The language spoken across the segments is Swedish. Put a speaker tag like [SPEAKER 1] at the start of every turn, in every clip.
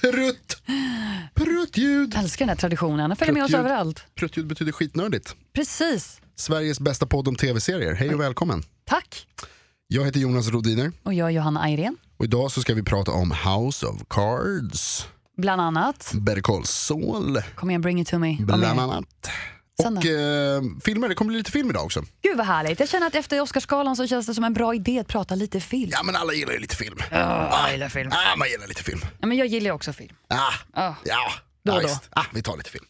[SPEAKER 1] Prutt! Pruttljud!
[SPEAKER 2] Jag älskar den här traditionen. Den följer med oss
[SPEAKER 1] Pruttljud.
[SPEAKER 2] överallt.
[SPEAKER 1] Pruttljud betyder skitnördigt.
[SPEAKER 2] Precis.
[SPEAKER 1] Sveriges bästa podd om tv-serier. Hej och välkommen.
[SPEAKER 2] Tack.
[SPEAKER 1] Jag heter Jonas Rodiner
[SPEAKER 2] Och jag är Johanna Ayrén,
[SPEAKER 1] och idag så ska vi prata om House of Cards,
[SPEAKER 2] bland annat.
[SPEAKER 1] Better Call Saul,
[SPEAKER 2] Kom igen, bring it to me. Vad
[SPEAKER 1] bland
[SPEAKER 2] mer?
[SPEAKER 1] annat.
[SPEAKER 2] Sen
[SPEAKER 1] Och
[SPEAKER 2] då?
[SPEAKER 1] eh, filmer, det kommer bli lite film idag också.
[SPEAKER 2] Gud vad härligt. Jag känner att efter Oscarsgalan så känns det som en bra idé att prata lite film.
[SPEAKER 1] Ja men alla gillar ju lite film.
[SPEAKER 2] jag gillar film.
[SPEAKER 1] Ah, man gillar lite film.
[SPEAKER 2] Ja, men jag gillar ju också film.
[SPEAKER 1] Ah,
[SPEAKER 2] Ja.
[SPEAKER 1] Ja,
[SPEAKER 2] Då
[SPEAKER 1] ja
[SPEAKER 2] och då.
[SPEAKER 1] visst. Ah, vi tar lite film.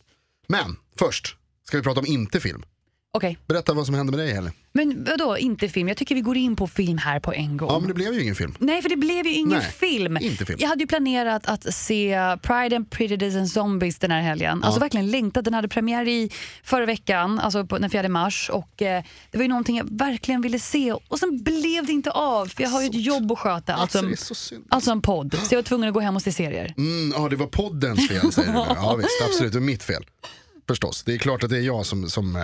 [SPEAKER 1] Men först ska vi prata om inte film.
[SPEAKER 2] Okej,
[SPEAKER 1] Berätta vad som hände med dig Helle.
[SPEAKER 2] men vadå inte film? Jag tycker vi går in på film här på en gång.
[SPEAKER 1] Ja men det blev ju ingen film.
[SPEAKER 2] Nej, för det blev ju ingen
[SPEAKER 1] Nej,
[SPEAKER 2] film.
[SPEAKER 1] inte film.
[SPEAKER 2] Jag hade ju planerat att se Pride and Prejudice and Zombies den här helgen. Alltså verkligen längtat. Den hade premiär i förra veckan, alltså på den 4 mars. Och eh, Det var ju någonting jag verkligen ville se och sen blev det inte av. För jag har ju ett jobb att sköta, alltså,
[SPEAKER 1] Alltså, det
[SPEAKER 2] en-
[SPEAKER 1] är så synd.
[SPEAKER 2] alltså en podd. Så jag var tvungen att gå hem och se serier.
[SPEAKER 1] Mm, ja, det var poddens fel säger du nu. Ja visst, absolut. Det var mitt fel. Förstås. Det är klart att det är jag som, som, eh,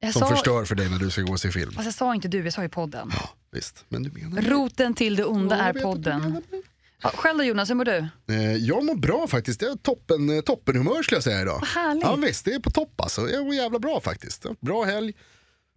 [SPEAKER 2] Jag
[SPEAKER 1] som
[SPEAKER 2] sa,
[SPEAKER 1] förstör för dig när du ska gå och se film.
[SPEAKER 2] Fast jag sa inte du, jag sa ju podden.
[SPEAKER 1] Ja, visst. Men du menar det.
[SPEAKER 2] Roten till det onda
[SPEAKER 1] Ja, jag
[SPEAKER 2] är
[SPEAKER 1] vet att du menar
[SPEAKER 2] podden. Ja, själv då Jonas, hur mår du?
[SPEAKER 1] det. Eh, jag mår bra faktiskt. Jag har toppen, eh, toppenhumör skulle jag säga idag.
[SPEAKER 2] Vad härligt.
[SPEAKER 1] Ja visst, det är på topp alltså. Jag mår jävla bra faktiskt. Bra helg,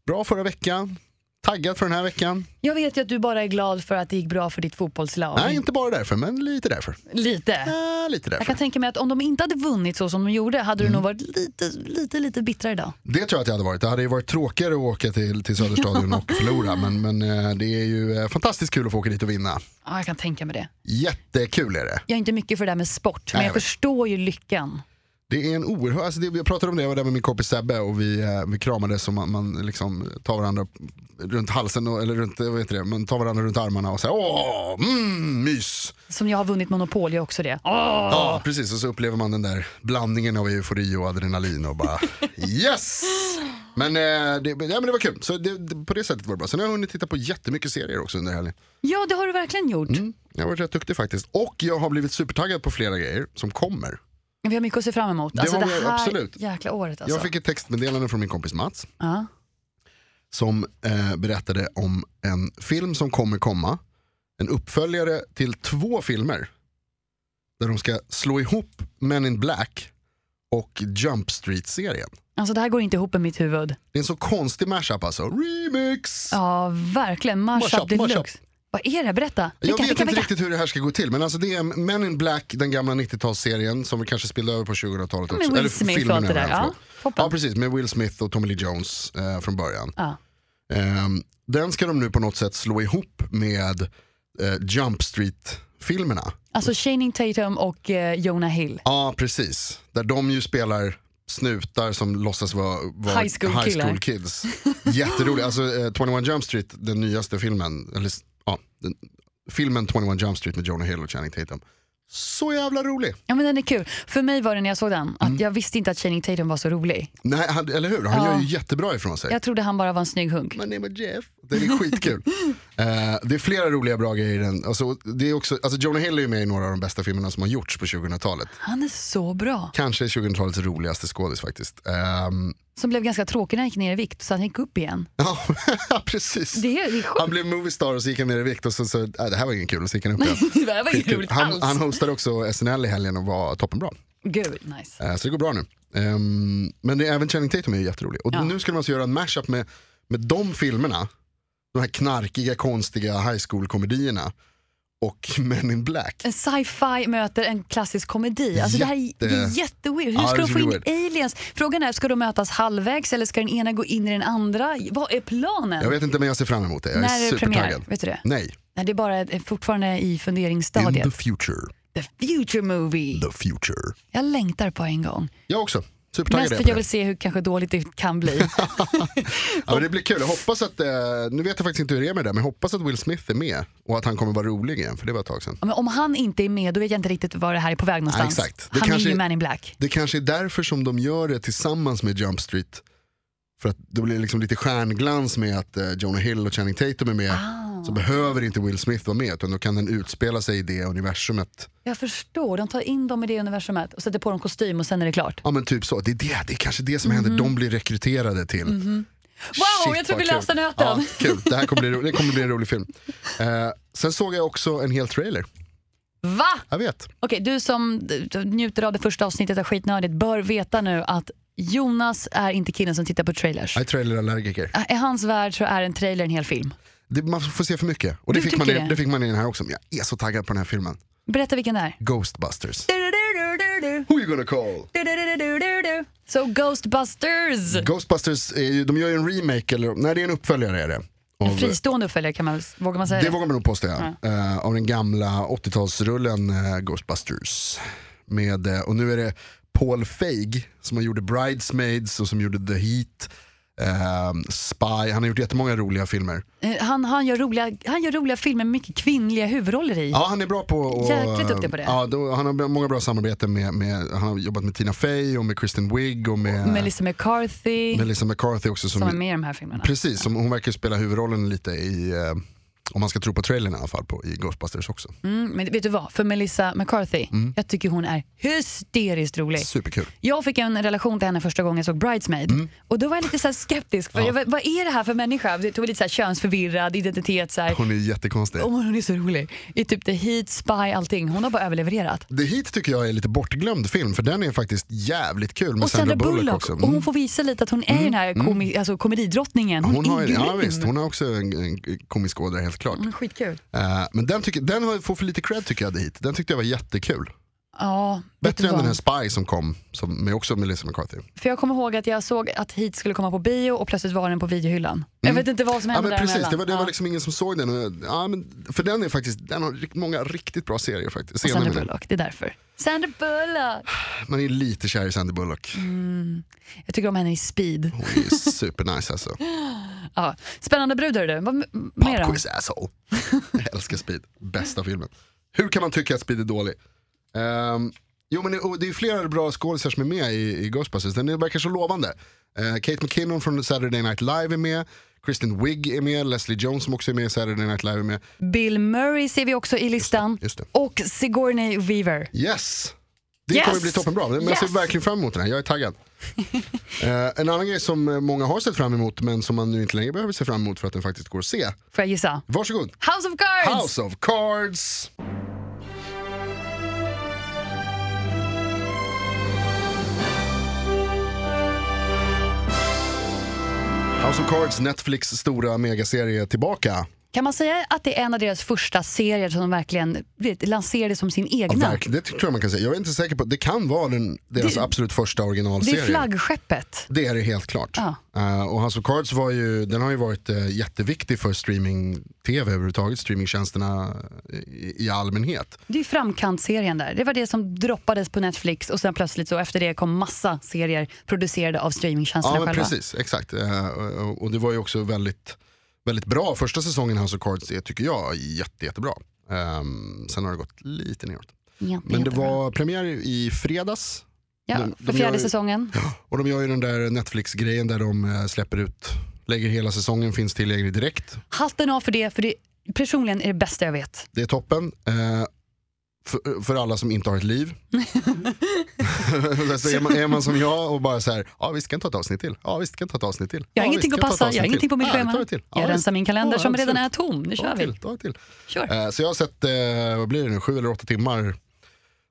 [SPEAKER 1] bra förra veckan. Taggad för den här veckan.
[SPEAKER 2] Jag vet ju att du bara är glad för att det gick bra för ditt fotbollslag.
[SPEAKER 1] Nej, inte bara därför, men lite därför.
[SPEAKER 2] Lite.
[SPEAKER 1] Ja, lite därför.
[SPEAKER 2] Jag kan tänka mig att om de inte hade vunnit så som de gjorde hade du nog varit lite, lite, lite bittrare idag.
[SPEAKER 1] Det tror jag att jag hade varit. Det hade ju varit tråkigare att åka till, till Söderstadion och förlora. Men, men eh, det är ju eh, fantastiskt kul att få åka dit och vinna.
[SPEAKER 2] Ja, jag kan tänka mig det.
[SPEAKER 1] Jättekul är det.
[SPEAKER 2] Jag är inte mycket för det där med sport, men
[SPEAKER 1] Nej,
[SPEAKER 2] jag,
[SPEAKER 1] jag vet.
[SPEAKER 2] förstår ju lyckan.
[SPEAKER 1] Det är en oerhörd, alltså det, jag pratade om det, jag var där med min kompis Sebbe och vi, eh, vi kramades och man, man liksom tar varandra runt halsen, och, eller runt, vad heter det, man tar varandra runt armarna och säger åh, mm, mys.
[SPEAKER 2] Som jag har vunnit Monopol, jag också det.
[SPEAKER 1] Ja, precis, och så upplever man den där blandningen av eufori och adrenalin och bara yes! Men, eh, det, ja, men det var kul, så det, det, på det sättet var det bra. Sen har jag hunnit titta på jättemycket serier också under helgen. Mm.
[SPEAKER 2] Ja, det har du verkligen gjort.
[SPEAKER 1] Jag har varit rätt duktig faktiskt. Och jag har blivit supertaggad på flera grejer som kommer.
[SPEAKER 2] Vi har mycket att se fram emot. Alltså,
[SPEAKER 1] Det har vi,
[SPEAKER 2] här
[SPEAKER 1] absolut.
[SPEAKER 2] jäkla året alltså.
[SPEAKER 1] Jag fick ett textmeddelande från min kompis Mats.
[SPEAKER 2] Ja.
[SPEAKER 1] som eh, berättade om en film som kommer komma. En uppföljare till två filmer. Där de ska slå ihop Men in Black och Jump Street-serien.
[SPEAKER 2] Alltså det här går inte ihop i mitt huvud.
[SPEAKER 1] Det är en så konstig mashup alltså. Remix!
[SPEAKER 2] Ja, verkligen. Mashup
[SPEAKER 1] Mashup, mashup.
[SPEAKER 2] deluxe. Vad är det? Berätta.
[SPEAKER 1] Jag
[SPEAKER 2] Vilka,
[SPEAKER 1] vet
[SPEAKER 2] vilka,
[SPEAKER 1] inte
[SPEAKER 2] vilka?
[SPEAKER 1] riktigt hur det här ska gå till men alltså det är Men in Black, den gamla 90-talsserien som vi kanske spillde över på 2000-talet
[SPEAKER 2] Med
[SPEAKER 1] också.
[SPEAKER 2] Will
[SPEAKER 1] Eller
[SPEAKER 2] Smith och
[SPEAKER 1] filmen
[SPEAKER 2] allt det
[SPEAKER 1] menar jag,
[SPEAKER 2] där. Ja,
[SPEAKER 1] förlåt.
[SPEAKER 2] toppen.
[SPEAKER 1] ja precis, med Will Smith och Tommy Lee Jones eh, från början.
[SPEAKER 2] Ja.
[SPEAKER 1] Ehm, den ska de nu på något sätt slå ihop med eh, Jump Street-filmerna.
[SPEAKER 2] Alltså Channing Tatum och eh, Jonah Hill.
[SPEAKER 1] Ja, precis. Där de ju spelar snutar som låtsas vara, vara
[SPEAKER 2] High school killar.
[SPEAKER 1] kids. Jätteroligt. Alltså eh, 21 Jump Street, den nyaste filmen, eller s- ja, den, filmen 21 Jump Street med Jonah Hill och Channing Tatum. Så jävla rolig.
[SPEAKER 2] Ja, men den är kul. För mig var det när jag såg den,
[SPEAKER 1] Mm.
[SPEAKER 2] att jag visste inte att Channing Tatum var så rolig.
[SPEAKER 1] Nej, han, eller hur? Han gör ju jättebra ifrån sig.
[SPEAKER 2] Jag trodde han bara var en snygg hunk.
[SPEAKER 1] My name is Jeff. Den är skitkul. Eh, det är flera roliga bra grejer i den. Alltså, det är också, alltså Jonah Hill är ju med i några av de bästa filmerna som har gjorts på 2000-talet.
[SPEAKER 2] Han är så bra.
[SPEAKER 1] Kanske 2000-talets roligaste skådis faktiskt. Ehm,
[SPEAKER 2] Som blev ganska tråkig när han gick ner i vikt, så han gick upp igen.
[SPEAKER 1] Ja, precis.
[SPEAKER 2] Det är, det är
[SPEAKER 1] Han blev moviestar och så gick han ner i vikt och så, så äh, det här var ingen kul och så gick han upp igen.
[SPEAKER 2] sjukt. Det här var inget
[SPEAKER 1] Skitkul.
[SPEAKER 2] roligt
[SPEAKER 1] Han,
[SPEAKER 2] alls.
[SPEAKER 1] han hostade också SNL i helgen och var toppenbra.
[SPEAKER 2] Gud, nice.
[SPEAKER 1] Eh, Så det går bra nu. Ehm, Men det, är- även Channing Tatum är ju jätterolig. Och
[SPEAKER 2] Ja.
[SPEAKER 1] nu skulle man alltså göra en mashup med, med de filmerna, de här knarkiga, konstiga high school-komedierna och Men in Black.
[SPEAKER 2] En sci-fi möter en klassisk komedi. Alltså det här är, det är
[SPEAKER 1] Jätte-
[SPEAKER 2] jätteweird. Hur
[SPEAKER 1] Ja,
[SPEAKER 2] ska
[SPEAKER 1] det
[SPEAKER 2] de få
[SPEAKER 1] skulle
[SPEAKER 2] in
[SPEAKER 1] bli
[SPEAKER 2] aliens? Frågan är, ska de mötas halvvägs eller ska den ena gå in i den andra? Vad är planen?
[SPEAKER 1] Jag vet inte men jag ser fram emot det. Jag
[SPEAKER 2] När
[SPEAKER 1] är
[SPEAKER 2] är det premiär?
[SPEAKER 1] supertaggad.
[SPEAKER 2] Vet du det?
[SPEAKER 1] Nej,
[SPEAKER 2] Nej, det är bara det är fortfarande i
[SPEAKER 1] in
[SPEAKER 2] funderingsstadiet.
[SPEAKER 1] the future.
[SPEAKER 2] The future movie.
[SPEAKER 1] The future.
[SPEAKER 2] Jag längtar på en gång.
[SPEAKER 1] Jag också. Supertaggad
[SPEAKER 2] Mest
[SPEAKER 1] är
[SPEAKER 2] för
[SPEAKER 1] jag
[SPEAKER 2] att
[SPEAKER 1] på
[SPEAKER 2] jag
[SPEAKER 1] det.
[SPEAKER 2] vill se hur kanske dåligt det kan bli.
[SPEAKER 1] Ja, men det blir kul. Jag hoppas att, eh, nu vet jag faktiskt inte hur det är med det där, men jag hoppas att Will Smith är med och att han kommer vara rolig igen, för det var ett tag sedan.
[SPEAKER 2] Ja, Men om han inte är med, då vet jag inte riktigt var det här är på väg någonstans.
[SPEAKER 1] Ja, exakt. Det
[SPEAKER 2] han
[SPEAKER 1] kanske är-
[SPEAKER 2] är ju man in black.
[SPEAKER 1] Det kanske är därför som de gör det tillsammans med Jump Street. För att det blir liksom lite stjärnglans med att eh, Jonah Hill och Channing Tatum är med.
[SPEAKER 2] Ah.
[SPEAKER 1] Så behöver inte Will Smith vara med, utan då kan den utspela sig i det universumet.
[SPEAKER 2] Jag förstår, de tar in dem i det universumet och sätter på dem kostym och sen är det klart.
[SPEAKER 1] Ja men typ så, det är, det, det är kanske det som händer, de blir rekryterade till.
[SPEAKER 2] Mhm. Wow, jag tror
[SPEAKER 1] vad
[SPEAKER 2] vi
[SPEAKER 1] kul.
[SPEAKER 2] löste nöten.
[SPEAKER 1] Ja, kul, det här kommer bli, ro- det kommer bli en rolig film. Eh, sen såg jag också en hel trailer,
[SPEAKER 2] Va?
[SPEAKER 1] jag vet.
[SPEAKER 2] Okej, du som d- d- njuter av det första avsnittet av Skitnördigt bör veta nu att Jonas är inte killen som tittar på trailers.
[SPEAKER 1] Jag är trailerallergiker.
[SPEAKER 2] I hans värld så är en trailer en hel film.
[SPEAKER 1] Det, man får se för mycket. Och det
[SPEAKER 2] Du
[SPEAKER 1] fick, man i,
[SPEAKER 2] tycker
[SPEAKER 1] det
[SPEAKER 2] det?
[SPEAKER 1] fick man i den här också, men jag är så taggad på den här filmen.
[SPEAKER 2] Berätta vilken det är.
[SPEAKER 1] Ghostbusters. Who you gonna call?
[SPEAKER 2] So Ghostbusters!
[SPEAKER 1] Ghostbusters, är ju, de gör ju en remake, eller nej det är en uppföljare är det. Av,
[SPEAKER 2] Fristående uppföljare kan man väl, vågar man säga
[SPEAKER 1] det vågar man nog påstå ja. Eh, av den gamla 80-talsrullen eh, Ghostbusters. Med, eh, och nu är det Paul Feig som har gjort Bridesmaids och som gjorde The Heat, eh, Spy, han har gjort jättemånga roliga filmer.
[SPEAKER 2] Eh, Han, han, gör roliga, han gör roliga filmer med mycket kvinnliga huvudroller i.
[SPEAKER 1] Ja, han är bra på och,
[SPEAKER 2] Jäkligt duktig på det.
[SPEAKER 1] Ja, då, han har bra- många bra samarbeten med, med, han har jobbat med Tina Fey och med Kristen Wiig och med
[SPEAKER 2] Mm. Melissa McCarthy,
[SPEAKER 1] Melissa McCarthy också. Som,
[SPEAKER 2] som är med i de här filmerna.
[SPEAKER 1] Precis, som hon verkar spela huvudrollen lite i, eh, om man ska tro på trailern i alla fall, på, i Ghostbusters också.
[SPEAKER 2] Mm, men vet du vad, för Melissa McCarthy,
[SPEAKER 1] Mm.
[SPEAKER 2] jag tycker hon är hysteriskt rolig.
[SPEAKER 1] Superkul.
[SPEAKER 2] Jag fick en relation till henne första gången jag såg Bridesmaid.
[SPEAKER 1] Mm.
[SPEAKER 2] Och då var jag lite så här skeptisk. För jag, var- vad är det här för människa? Det tog lite så här könsförvirrad identitet. Så här.
[SPEAKER 1] Hon är jättekonstig.
[SPEAKER 2] Åh, hon är så rolig. I typ The Heat, Spy, allting. Hon har bara överlevererat.
[SPEAKER 1] The Heat tycker jag är lite bortglömd film, för den är faktiskt jävligt kul med
[SPEAKER 2] Och Sandra Bullock.
[SPEAKER 1] också.
[SPEAKER 2] Och
[SPEAKER 1] Mm.
[SPEAKER 2] hon får visa lite att hon är den här komi- alltså, komedidrottningen. Hon,
[SPEAKER 1] Hon har,
[SPEAKER 2] är
[SPEAKER 1] ju-
[SPEAKER 2] grym.
[SPEAKER 1] ja, visst, hon har också en, en komisk ådra helt klart.
[SPEAKER 2] Hon är skitkul.
[SPEAKER 1] Eh, men den, tycker, den har- får för lite cred tycker jag, The Heat. Den tyckte jag var jättekul.
[SPEAKER 2] Ja, vet du
[SPEAKER 1] Bättre än
[SPEAKER 2] vad?
[SPEAKER 1] den här Spy som kom, som, med också Melissa McCarthy.
[SPEAKER 2] För jag kommer ihåg att jag såg att Heat skulle komma på bio och plötsligt var den på videohyllan. Jag vet inte vad
[SPEAKER 1] Mm.
[SPEAKER 2] som
[SPEAKER 1] Ja,
[SPEAKER 2] hände
[SPEAKER 1] men precis,
[SPEAKER 2] däremellan.
[SPEAKER 1] det var, det var
[SPEAKER 2] Ja.
[SPEAKER 1] liksom ingen som såg den. Och, Ja, men, för den är faktiskt, den har rikt, många riktigt bra serier faktiskt.
[SPEAKER 2] Och
[SPEAKER 1] Scener
[SPEAKER 2] Sandra
[SPEAKER 1] menar jag.
[SPEAKER 2] Bullock, det är därför. Sandra Bullock!
[SPEAKER 1] Man är lite kär i Sandy Bullock.
[SPEAKER 2] Mm. Jag tycker om henne i Speed.
[SPEAKER 1] Hon är supernice alltså.
[SPEAKER 2] Ja. Spännande brud hörru du. Vad m- mer då?
[SPEAKER 1] Popquiz asshole. Jag älskar Speed, bästa filmen. Hur kan man tycka att Speed är dålig? Ehm, jo men det, och det är flera bra skådisar som är med i, i Ghostbusters, den är- verkar så lovande. Eh, Kate McKinnon från Saturday Night Live är med, Kristen Wiig är med, Leslie Jones som också är med i Saturday Night Live är med.
[SPEAKER 2] Bill Murray ser vi också i listan.
[SPEAKER 1] just det.
[SPEAKER 2] Och Sigourney Weaver.
[SPEAKER 1] Yes! Det
[SPEAKER 2] Yes!
[SPEAKER 1] kommer bli toppenbra. Men Jag ser
[SPEAKER 2] Yes!
[SPEAKER 1] verkligen fram emot den här, jag är taggad. Eh, en annan grej som eh, många har sett fram emot men som man nu inte längre behöver se fram emot för att den faktiskt går att se.
[SPEAKER 2] Får jag gissa?
[SPEAKER 1] Varsågod!
[SPEAKER 2] House of Cards!
[SPEAKER 1] House of Cards! House of Cards, Netflix stora megaserie tillbaka.
[SPEAKER 2] Kan man säga att det är en av deras första serier som de verkligen vet, lanserade som sin
[SPEAKER 1] Ja,
[SPEAKER 2] egna?
[SPEAKER 1] verkligen, det tror jag man kan säga. Jag är inte säker på, det kan vara den, deras
[SPEAKER 2] Det-
[SPEAKER 1] absolut första
[SPEAKER 2] det
[SPEAKER 1] originalserie.
[SPEAKER 2] är flaggskeppet.
[SPEAKER 1] Det är det helt klart.
[SPEAKER 2] Ja.
[SPEAKER 1] Eh, och House of Cards var ju, den har ju varit eh, jätteviktig för streaming-tv överhuvudtaget, streamingtjänsterna i, i allmänhet.
[SPEAKER 2] Det är framkantserien där. Det var det som droppades på Netflix och sen plötsligt så efter det kom massa serier producerade av streamingtjänsterna
[SPEAKER 1] Ja men
[SPEAKER 2] själva.
[SPEAKER 1] precis, exakt. Eh, och- och det var ju också väldigt, väldigt bra, första säsongen House of Cards är tycker jag jätte, jättebra. Um, sen har det gått lite neråt.
[SPEAKER 2] Jätte,
[SPEAKER 1] Men det
[SPEAKER 2] jättebra.
[SPEAKER 1] var premiär i fredags
[SPEAKER 2] ja,
[SPEAKER 1] de-
[SPEAKER 2] för
[SPEAKER 1] de
[SPEAKER 2] fjärde
[SPEAKER 1] gör ju-
[SPEAKER 2] säsongen.
[SPEAKER 1] och de gör ju den där Netflix-grejen där de eh, släpper ut, lägger hela säsongen, finns tillgänglig direkt.
[SPEAKER 2] Hatten av för det, för det personligen är det bästa jag vet.
[SPEAKER 1] Det är toppen. Eh, för, för alla som inte har ett liv. så är, man, är man som jag och bara så här, ja visst kan ta ett avsnitt till. Ja visst kan ta ett avsnitt till.
[SPEAKER 2] Jag har
[SPEAKER 1] ja,
[SPEAKER 2] ingenting
[SPEAKER 1] visst, kan
[SPEAKER 2] att
[SPEAKER 1] ta ett
[SPEAKER 2] passa,
[SPEAKER 1] avsnitt
[SPEAKER 2] jag har
[SPEAKER 1] till.
[SPEAKER 2] ingenting på mitt
[SPEAKER 1] Ja,
[SPEAKER 2] schema.
[SPEAKER 1] ta ett till. Ja,
[SPEAKER 2] jag
[SPEAKER 1] visst.
[SPEAKER 2] rensar min kalender
[SPEAKER 1] Ja,
[SPEAKER 2] som redan är
[SPEAKER 1] absolut.
[SPEAKER 2] tom. Nu
[SPEAKER 1] Ta
[SPEAKER 2] kör
[SPEAKER 1] ett
[SPEAKER 2] vi.
[SPEAKER 1] till, ta ett till.
[SPEAKER 2] Kör.
[SPEAKER 1] Eh, så jag har sett, eh, vad blir det nu, sju eller åtta timmar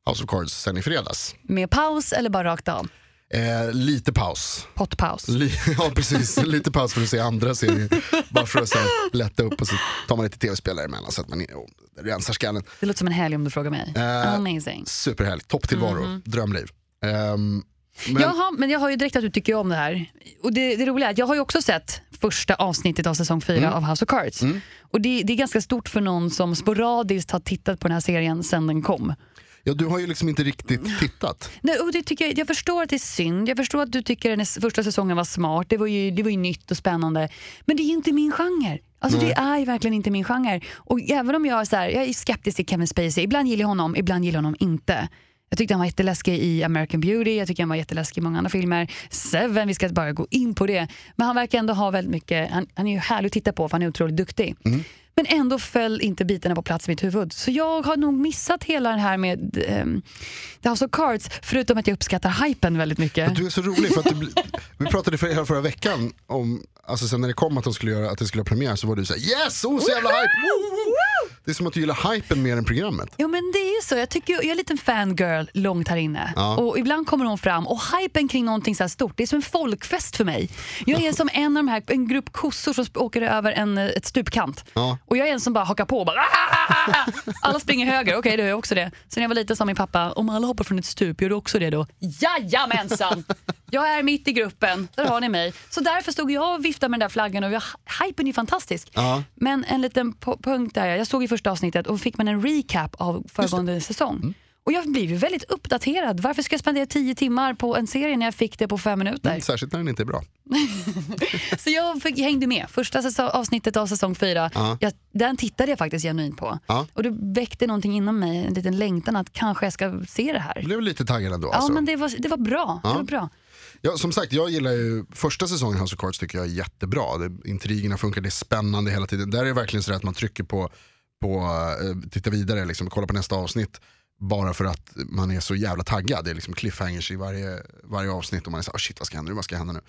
[SPEAKER 1] House of Cards sen i fredags.
[SPEAKER 2] Med paus eller bara rakt av?
[SPEAKER 1] Eh, lite paus.
[SPEAKER 2] Pottpaus.
[SPEAKER 1] Li- ja precis, lite paus för att se andra serier. Bara för att så här, lätta upp och så tar man lite tv-spel emellan så att man oh, rensar skallen.
[SPEAKER 2] Det låter som en helg om du frågar mig.
[SPEAKER 1] Eh,
[SPEAKER 2] Amazing. Mhm.
[SPEAKER 1] Superhärlig, topptillvaro, drömliv. Ehm, men,
[SPEAKER 2] Jaha, men jag har ju direkt att du tycker om det här. Och det, det roliga är att jag har ju också sett första avsnittet av säsong 4 av House of Cards. Och det, det är ganska stort för någon som sporadiskt har tittat på den här serien sedan den kom.
[SPEAKER 1] Ja, du har ju liksom inte
[SPEAKER 2] Mm.
[SPEAKER 1] riktigt tittat.
[SPEAKER 2] Nej, och det tycker jag, jag förstår att det är synd. Jag förstår att du tycker att den s- första säsongen var smart. Det var, ju, det var ju nytt och spännande. Men det är ju inte min genre. Alltså, det är ju verkligen inte min genre. Och även om jag är, så här, jag är skeptisk till Kevin Spacey. Ibland gillar jag honom, ibland gillar jag honom inte. Jag tyckte han var jätteläskig i American Beauty, jag tycker han var jätteläskig i många andra filmer. Seven, vi ska bara gå in på det. Men han verkar ändå ha väldigt mycket, han, han är ju härlig att titta på för han är otroligt duktig. Men ändå föll inte bitarna på plats i mitt huvud. Så jag har nog missat hela den här med ehm, The House of Cards, förutom att jag uppskattar hypen väldigt mycket.
[SPEAKER 1] Du är så rolig för att du, bli- vi pratade för hela förra veckan om, alltså sen när det kom att de skulle göra, att det skulle ha premiär så var du så här: yes, oh så jävla hype! Woo, woo, woo." Det är som att du gillar hypen mer än programmet.
[SPEAKER 2] Ja men det är ju så, jag, tycker, ju- jag är en liten fangirl långt här inne. Och ibland kommer hon fram och hypen kring någonting så här stort, det är som en folkfest för mig. Jag är som en av de här, en grupp kossor som sp- åker över en, eh, ett stupkant.
[SPEAKER 1] Ja.
[SPEAKER 2] Och jag är en som bara hakar på och bara "Ah!" Alla springer höger, okej då gör jag också det. Sen när jag var liten sa min pappa, om alla hoppar från ett stup, gör du också det då? Jajamensan! Jag är mitt i gruppen, där har ni mig. Så därför stod jag och viftade med den där flaggan och jag, hypen är ju fantastisk.
[SPEAKER 1] Ja.
[SPEAKER 2] Men en liten po- punkt där, jag såg i första avsnittet och fick man en recap av föregående säsong.
[SPEAKER 1] Mm.
[SPEAKER 2] Och jag blev ju väldigt uppdaterad. Varför ska jag spendera tio timmar på en serie när jag fick det på fem minuter?
[SPEAKER 1] Särskilt när den inte är bra.
[SPEAKER 2] Så jag, fick, jag hängde med. Första säsong, avsnittet av säsong fyra, jag, den tittade jag faktiskt genuint på.
[SPEAKER 1] Ja.
[SPEAKER 2] Och det väckte någonting inom mig, en liten längtan att kanske jag ska se det här.
[SPEAKER 1] Jag blev lite taggad ändå.
[SPEAKER 2] Ja
[SPEAKER 1] alltså.
[SPEAKER 2] men det var, det var bra. Det var bra.
[SPEAKER 1] Ja, som sagt, jag gillar ju första säsongen House of Cards tycker jag är jättebra. Det, intrigerna funkar, det är spännande hela tiden. Där är det verkligen så att man trycker på, på eh, titta vidare, liksom, kolla på nästa avsnitt. Bara för att man är så jävla taggad. Det är liksom cliffhangers i varje, varje avsnitt och man är så här, oh shit vad ska hända nu, vad ska hända nu?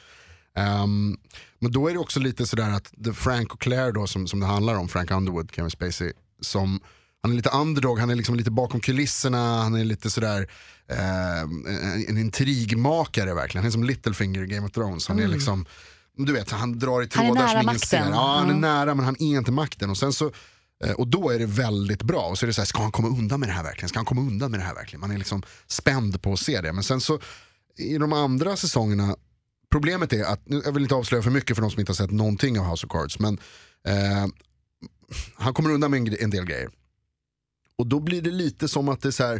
[SPEAKER 1] Ehm, men då är det också lite sådär att det är Frank och Claire då som, som det handlar om, Frank Underwood, Kevin Spacey, som han är lite underdog, han är liksom lite bakom kulisserna, han är lite sådär eh, en, en intrigmakare verkligen. Han är som Littlefinger i Game of Thrones. Han är liksom, du vet, han drar i trådar
[SPEAKER 2] Mm. nära
[SPEAKER 1] som ingen
[SPEAKER 2] makten.
[SPEAKER 1] ser. Ja, han är
[SPEAKER 2] Mm.
[SPEAKER 1] nära men han är inte makten. Och sen så eh, och då är det väldigt bra. Och så är det så här, ska han komma undan med det här verkligen? Ska han komma undan med det här verkligen? Man är liksom spänd på att se det. Men sen så, i de andra säsongerna, problemet är att, nu, jag vill inte avslöja för mycket för de som inte har sett någonting av House of Cards, men eh, han kommer undan med en, gre- en del grejer. Och då blir det lite som att det är så här,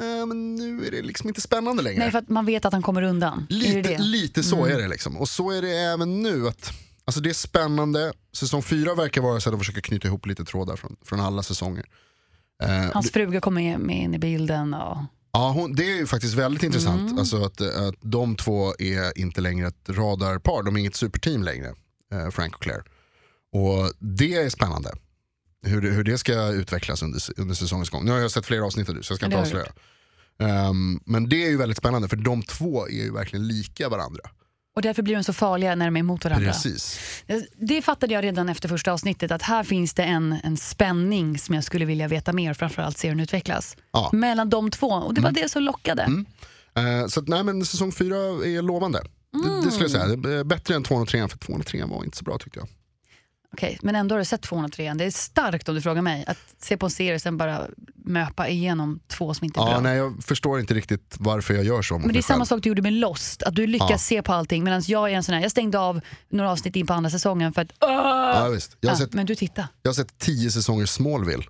[SPEAKER 1] eh, men nu är det liksom inte spännande längre.
[SPEAKER 2] Nej för att man vet att han kommer undan.
[SPEAKER 1] Lite,
[SPEAKER 2] är det Mm. det?
[SPEAKER 1] lite så är det liksom. Och så är det även nu. att Alltså det är spännande. Säsong fyra verkar vara så att de försöker knyta ihop lite trådar från, från alla säsonger. Eh,
[SPEAKER 2] Hans fruga kommer med- med in i bilden. Och...
[SPEAKER 1] ja, hon, det är ju faktiskt väldigt intressant.
[SPEAKER 2] Mm.
[SPEAKER 1] Alltså att, att de två är inte längre ett radarpar. De är inget superteam längre, eh, Frank och Claire. Och det är spännande. Hur det, hur det ska utvecklas under, under säsongens gång. Nu har jag sett flera avsnitt nu så jag ska
[SPEAKER 2] Ja,
[SPEAKER 1] inte
[SPEAKER 2] det har du
[SPEAKER 1] avslöja. Ehm, men det är ju väldigt spännande för de två är ju verkligen lika varandra.
[SPEAKER 2] Och därför blir de så farliga när de är emot varandra.
[SPEAKER 1] Precis.
[SPEAKER 2] Det fattade jag redan efter första avsnittet, att här finns det en, en spänning som jag skulle vilja veta mer, framförallt se hur den utvecklas.
[SPEAKER 1] Ja. Mm.
[SPEAKER 2] Mellan de två, och det var det som lockade.
[SPEAKER 1] Eh, Så att, nej, men säsong fyra är lovande. Det, det skulle jag säga.
[SPEAKER 2] Mm.
[SPEAKER 1] Det är Bättre än 2 och 3 för 2 och 3 var inte så bra tyckte jag.
[SPEAKER 2] Okej, men ändå har du sett 203 Det är starkt om du frågar mig, att se på en serie och sen bara möpa igenom två som inte är
[SPEAKER 1] Ja,
[SPEAKER 2] bra.
[SPEAKER 1] nej, jag förstår inte riktigt varför jag gör så mot
[SPEAKER 2] Men det är
[SPEAKER 1] mig
[SPEAKER 2] samma
[SPEAKER 1] själv.
[SPEAKER 2] sak du gjorde med Lost, att du lyckas
[SPEAKER 1] Ja.
[SPEAKER 2] se på allting medan jag är en sån här, jag stängde av några avsnitt in på andra säsongen för att Åh!
[SPEAKER 1] Ja, visst. Jag,
[SPEAKER 2] Ja,
[SPEAKER 1] har sett,
[SPEAKER 2] Men du titta.
[SPEAKER 1] jag har sett tio säsonger Smallville.